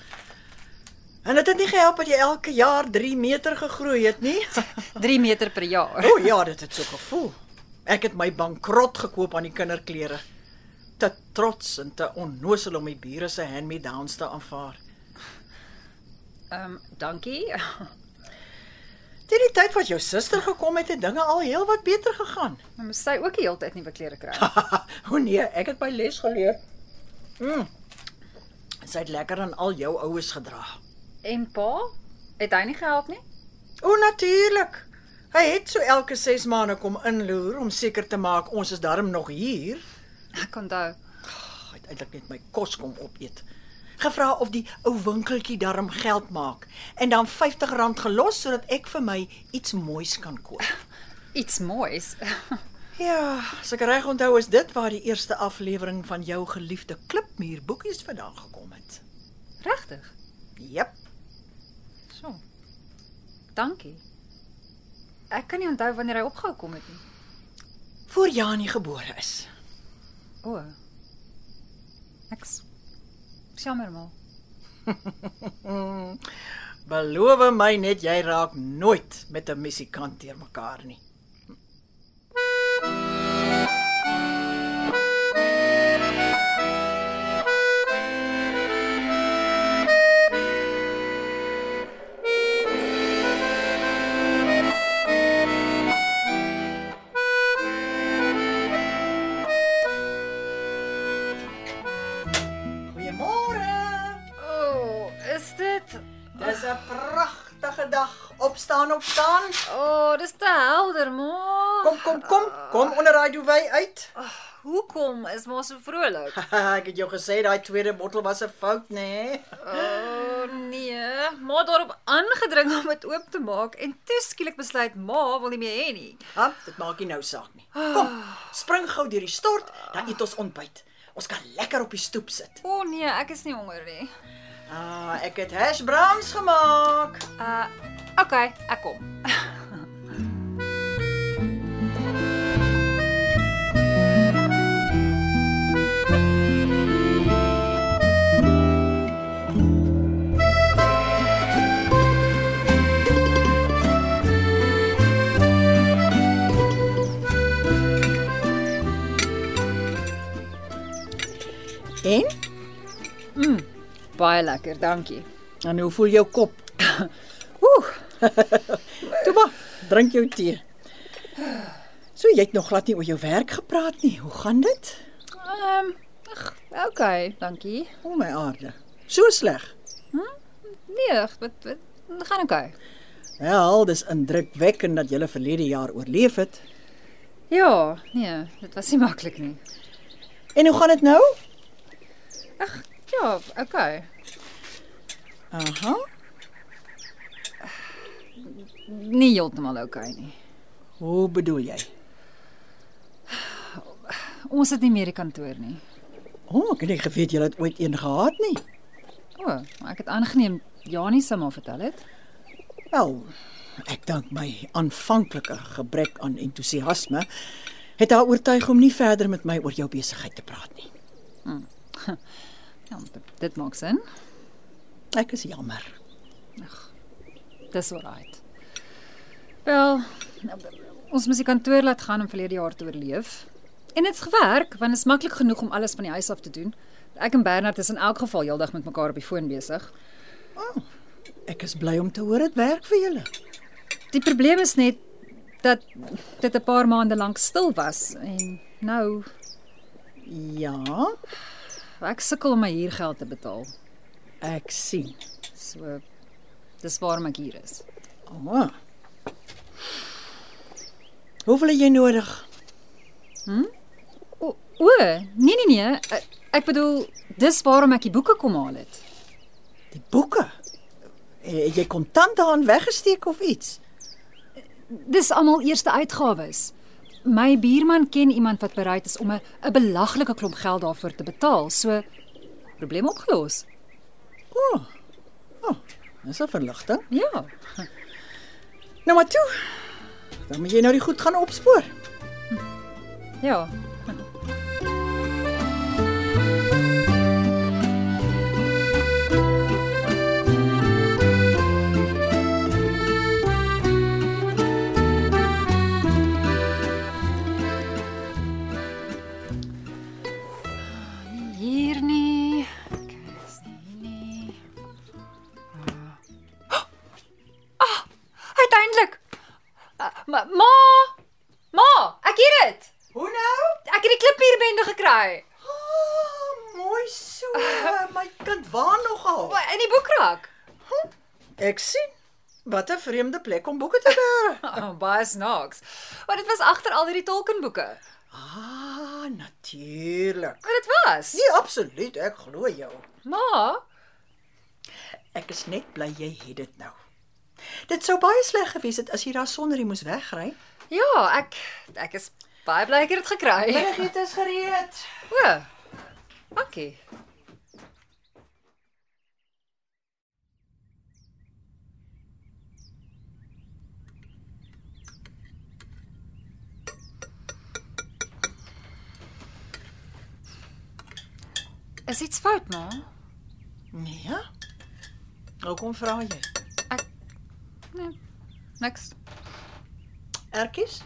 Speaker 5: En dit het nie gehelp dat jy elke jaar 3 meter gegroei het nie.
Speaker 2: 3 meter per jaar.
Speaker 5: O oh, ja, dit het so gevoel. Ek het my bankrot gekoop aan die kinderklere. Te trots en te onnosel om my bure se hand-me-downs te aanvaar.
Speaker 2: Ehm, um, dankie.
Speaker 5: Teen die tyd wat jou suster gekom het, het dinge al heelwat beter gegaan.
Speaker 2: Maar moes sy ook die hele tyd nuwe klere kry?
Speaker 5: o nee, ek het my les geleer. Mm. Sy het lekker aan al jou oues gedra.
Speaker 2: En pa? Het hy nie gehelp nie?
Speaker 5: O natuurlik. Hy het so elke 6 maande kom inloer om seker te maak ons is darm nog hier.
Speaker 2: Ek onthou.
Speaker 5: Hy het eintlik net my kos kom opeet. Gevra of die ou winkeltjie darm geld maak en dan R50 gelos sodat ek vir my iets moois kan koop.
Speaker 2: Iets moois.
Speaker 5: Ja, as ek reg onthou is dit waar die eerste aflewering van jou geliefde klipmuur boekies vandaan gekom het.
Speaker 2: Regtig?
Speaker 5: Jep.
Speaker 2: So. Dankie. Ek kan nie onthou wanneer hy opgehou kom het nie.
Speaker 5: Voor Janie gebore is.
Speaker 2: O. Ek's jammer maar.
Speaker 5: Mm. Beloof my net jy raak nooit met 'n musikant teer mekaar nie. Goeiemôre.
Speaker 2: O, is dit?
Speaker 5: Dis 'n pragtige dag. Opstaan, opstaan.
Speaker 2: O, dis te helder, ma.
Speaker 5: Kom, kom, kom. Kom onder daai duvet uit.
Speaker 2: Hoekom is ma so vrolik?
Speaker 5: Ek het jou gesê daai tweede bottel was 'n fout, nê? Nee.
Speaker 2: O nee, ma het daarop aangedring om dit oop te maak en toe skielik besluit ma wil nie meer hê nie.
Speaker 5: Ha, dit maak nie nou saak nie. Kom, spring gou deur die stort, dan eet ons ontbyt. Ons kan lekker op die stoep sit.
Speaker 2: O nee, ek is nie honger nie.
Speaker 5: Ah, ek het hash browns gemaak.
Speaker 2: Uh, okay, ek kom.
Speaker 5: En?
Speaker 2: Baie lekker, dankie.
Speaker 5: En hoe voel jou kop?
Speaker 2: Oeh,
Speaker 5: Toe maar, drink jou tee. So jy het nog glad nie oor jou werk gepraat nie. Hoe gaan dit?
Speaker 2: ehm, um, ag, okay, dankie.
Speaker 5: O my aarde. So sleg.
Speaker 2: Nee, ag, dit dit gaan okay.
Speaker 5: Wel, dis indrukwekkend dat jy verlede jaar oorleef het.
Speaker 2: Ja, nee, dit was nie maklik nie.
Speaker 5: En hoe gaan dit nou?
Speaker 2: Ag, ja, okay.
Speaker 5: Aha.
Speaker 2: Nie heeltemal okay nie.
Speaker 5: Hoe bedoel jy?
Speaker 2: Ons het nie meer die kantoor nie.
Speaker 5: O, oh, ek het nie geweet jy het ooit een gehad nie.
Speaker 2: O, maar ek het aangeneem Janie sou maar vertel het.
Speaker 5: Wel, ek dink my aanvanklike gebrek aan entoesiasme het haar oortuig om nie verder met my oor jou besigheid te praat nie.
Speaker 2: Ja, dit, dit maak sin.
Speaker 5: Ek is jammer.
Speaker 2: Dis alright. Wel, ons moes die kantoor laat gaan om verlede jaar te oorleef. En dit's gewerk, want dit is maklik genoeg om alles van die huis af te doen. Ek en Bernard is in elk geval heeldag met mekaar op die foon besig.
Speaker 5: Ek is bly om te hoor dit werk vir julle.
Speaker 2: Die probleem is net dat dit 'n paar maande lank stil was en nou
Speaker 5: Ja,
Speaker 2: ek sukkel om my huurgeld te betaal.
Speaker 5: ek sien.
Speaker 2: So dis waarom ek hier is.
Speaker 5: O. Oh. Hoeveel het jy nodig?
Speaker 2: O, o nee nee nee, eh, Ek bedoel, dis waarom ek die boeke kom haal het.
Speaker 5: Die boeke. Eh, Jy kon tant daarin weggesteek of iets.
Speaker 2: Dis almal eerste uitgawes. My buurman ken iemand wat bereid is om 'n 'n belaglike klomp geld daarvoor te betaal, so probleem opgelos.
Speaker 5: Dis 'n verligting.
Speaker 2: Ja.
Speaker 5: Nou maar toe. Dan moet jy nou die goed gaan opspoor.
Speaker 2: Ja. Hier nie. Ek is nie hier nie. Ah, uiteindelik. Ah, ma, ma, ma, ek het dit.
Speaker 5: Hoe nou?
Speaker 2: Ek het die klippierbende gekry.
Speaker 5: Oh, mooi so. My kind waar nogal.
Speaker 2: Wa- In die boekrak.
Speaker 5: Ek sien. Wat 'n vreemde plek om boeke te bera.
Speaker 2: Oh, baie snaaks. Want dit was agter al hierdie Tolkienboeke.
Speaker 5: Ah, natuurlik.
Speaker 2: Wat dit was.
Speaker 5: Nee, absoluut, ek glo jou.
Speaker 2: Ma,
Speaker 5: Ek is net bly jy het dit nou. Dit sou baie sleg gewees het as jy daar sonder hy moes wegry.
Speaker 2: ja, ek ek is baie bly Ja, ek het dit gekry.
Speaker 5: Middagete is gereed.
Speaker 2: O. Dankie. Is iets fout, ma?
Speaker 5: Nee. Hoekom vra jy?
Speaker 2: Niks.
Speaker 5: Ertjies?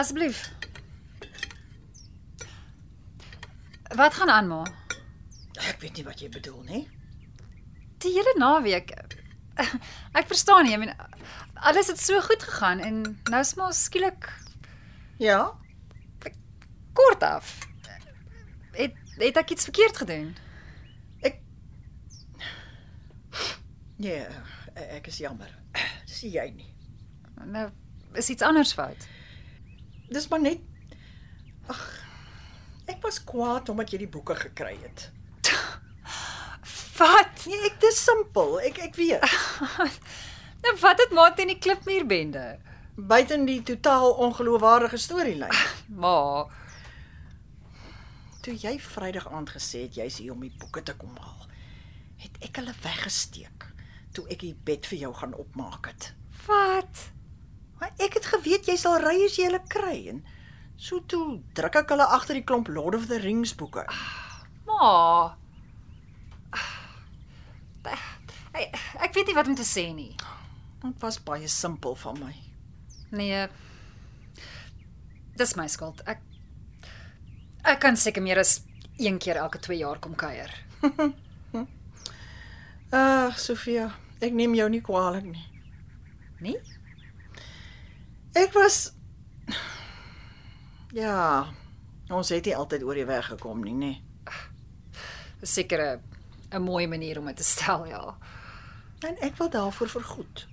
Speaker 2: Asseblief. Wat gaan aan, ma?
Speaker 5: Ek Ah, weet nie wat jy bedoel nie.
Speaker 2: Die hele naweek. Ek verstaan nie. Ek meen alles het so goed gegaan en nou is maar skielik
Speaker 5: Ja,
Speaker 2: kort af. Het het ek iets verkeerd gedoen?
Speaker 5: nee, ek is jammer. Sien jy nie.
Speaker 2: Nou is iets anders fout.
Speaker 5: Dis maar net Ag. Ek was kwaad omdat jy die boeke gekry het.
Speaker 2: Wat?
Speaker 5: Nee, ek dis simpel. Ek ek weet.
Speaker 2: Nou wat het maak teen die klipmuurbende?
Speaker 5: Buiten die totaal ongeloofwaardige storielyn.
Speaker 2: Ma,
Speaker 5: Toe jy Vrydag aand gesê het jy's hier om die boeke te kom haal, het ek hulle weggesteek toe ek die bed vir jou gaan opmaak het.
Speaker 2: wat?
Speaker 5: Maar ek het geweet jy sal ry as jy hulle kry en so toe druk ek hulle agter die klomp Lord of the Rings boeke.
Speaker 2: Ma. Ek, ek weet nie wat om te sê nie.
Speaker 5: Dit was baie simpel van my.
Speaker 2: Nee. Dis my skuld. Ek ek kan seker meer as een keer elke 2 jaar kom kuier.
Speaker 5: Ag, Sofia, ek neem jou nie kwaadlik nie.
Speaker 2: Nee?
Speaker 5: Ek was Ja, ons het nie altyd oor die weg gekom nie, nee. nê.
Speaker 2: Dis seker 'n 'n mooi manier om dit te stel, ja.
Speaker 5: En ek wil daarvoor vergoed.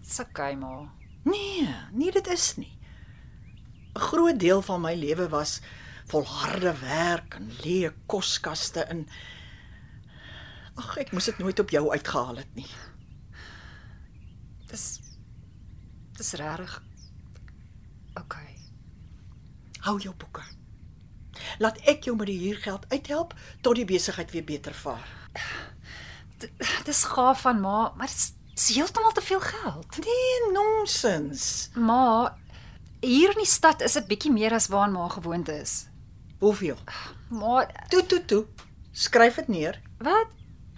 Speaker 2: Dis okay, ma.
Speaker 5: Nee, nee dit is nie. 'n Groot deel van my lewe was volharde werk en leë koskaste in Ag, ek moes dit nooit op jou uitgehaal het nie.
Speaker 2: Dis dis regtig okay.
Speaker 5: Hou jou boeke. Laat ek jou met die huurgeld uithelp tot die besigheid weer beter vaar.
Speaker 2: D- Dis gaaf van ma, maar dis, dis heeltemal te veel geld.
Speaker 5: Nee, nonsens.
Speaker 2: Ma, hier in die stad is dit bietjie meer as waaraan ma gewoond is.
Speaker 5: Hoeveel?
Speaker 2: Ma,
Speaker 5: Toe toe toe. Skryf dit neer.
Speaker 2: wat?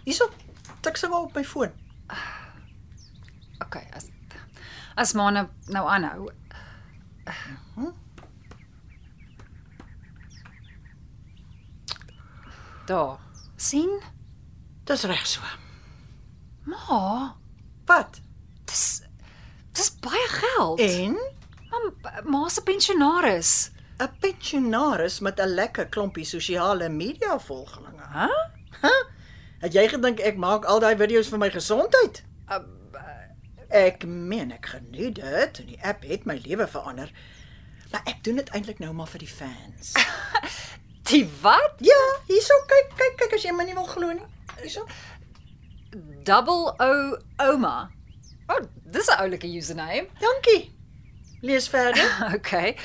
Speaker 5: Hierop. Tik sommer op my foon.
Speaker 2: Okay, as as ma nou, nou aanhou. Daar. sien?
Speaker 5: Dis reg so.
Speaker 2: Ma,
Speaker 5: Wat?
Speaker 2: dis dis baie geld.
Speaker 5: En
Speaker 2: Ma, ma se pensionaris.
Speaker 5: 'n pensionaris met 'n lekker klompie sosiale media volgelinge.
Speaker 2: Hæ?
Speaker 5: Het jy gedink ek maak al daai video's vir my gesondheid? Ek meen ek geniet dit. en Die app het my lewe verander. Maar ek doen dit eintlik nou maar vir die fans.
Speaker 2: Die wat?
Speaker 5: Ja, hierso kyk, kyk, kyk as jy my nie wil glo nie. Hierso.
Speaker 2: Double O Oma. O, oh, dis 'n oulike username.
Speaker 5: Dankie. Lees verder.
Speaker 2: Okay.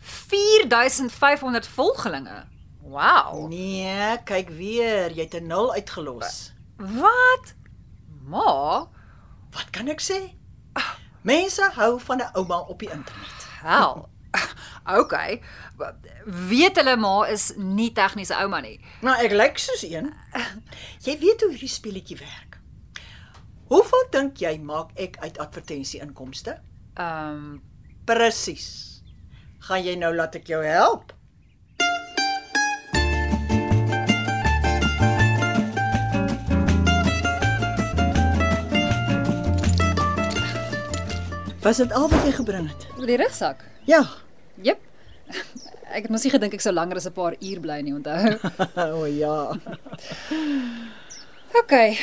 Speaker 2: 4500 volgelinge. Wow.
Speaker 5: Nee, kyk weer, jy het 'n 0 uitgelos.
Speaker 2: Wat? Ma,
Speaker 5: Wat kan ek sê? Mense hou van 'n ouma op die internet.
Speaker 2: hel. Okay. Weet hulle ma is nie tegniese ouma nie.
Speaker 5: Nou ek lyk soos een. eh, Jy weet hoe hierdie speletjie werk. Hoeveel dink jy maak ek uit advertensie-inkomste?
Speaker 2: Ehm um,
Speaker 5: Presies. Gaan jy nou laat ek jou help? Was dit al wat jy gebring het?
Speaker 2: die rugsak.
Speaker 5: Ja.
Speaker 2: Jep. Ek het mos nie gedink ek sou langer as 'n paar uur bly nie, onthou.
Speaker 5: O oh, ja.
Speaker 2: Okay.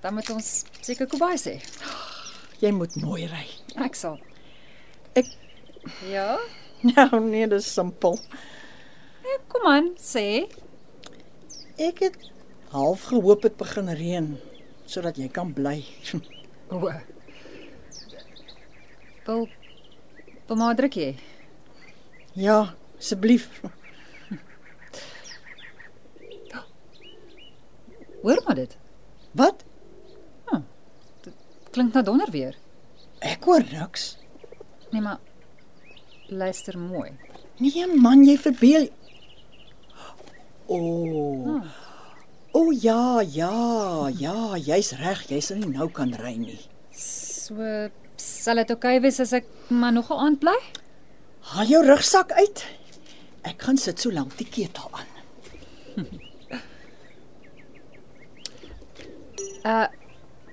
Speaker 2: Dan moet ons seker Kobai sê.
Speaker 5: Jy moet mooi ry.
Speaker 2: Ek sal.
Speaker 5: Ek-
Speaker 2: Ja.
Speaker 5: Nou nee, dis simpel.
Speaker 2: Ja, Kom aan, sê.
Speaker 5: Ek het half gehoop dit begin reën sodat jy kan bly.
Speaker 2: O. Wil wil maar druk jy.
Speaker 5: ja, asseblief.
Speaker 2: Hoor maar dit.
Speaker 5: Wat?
Speaker 2: Klink na donder weer.
Speaker 5: Ek hoor niks.
Speaker 2: Nee, maar luister mooi.
Speaker 5: Nee man, jy verbeel. O. Oh. O oh, ja, ja, ja, jy's reg, jy sal nie nou kan ry nie.
Speaker 2: So sal dit oukei okay wees as ek maar nog 'n aand bly?
Speaker 5: Haal jou rugsak uit. Ek gaan sit so lank die ketel aan.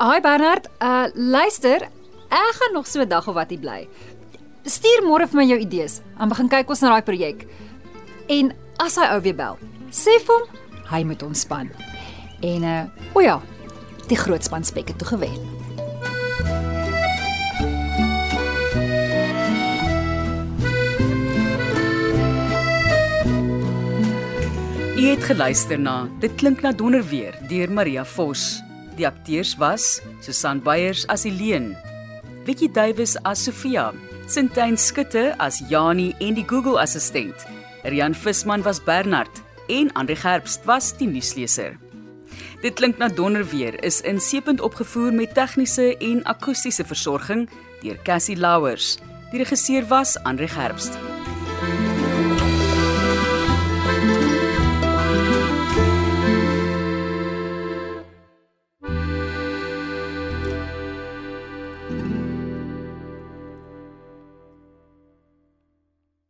Speaker 2: Hi Bernard, uh luister, ek gaan nog so 'n dag of wat hier bly. Stuur môre vir my jou idees. Dan begin kyk ons na daai projek. En as hy ou weer bel, sê vir hom hy moet ontspan. En uh o ja, die groot span spek het toe gewen.
Speaker 1: U het geluister na Dit klink na donder weer deur Maria Vos. Die akteurs was Susan Beyers as Helene, Vicky Davis as Sofia, Sintyn Skutte as Jani en die Google assistent. Rian Visman was Bernard en Andre Gerbst was die nuusleser. Dit klink na donder weer is in seepunt opgevoer met tegniese en akoestiese versorging deur Cassie Louwers. Die regisseur was Andre Gerbst.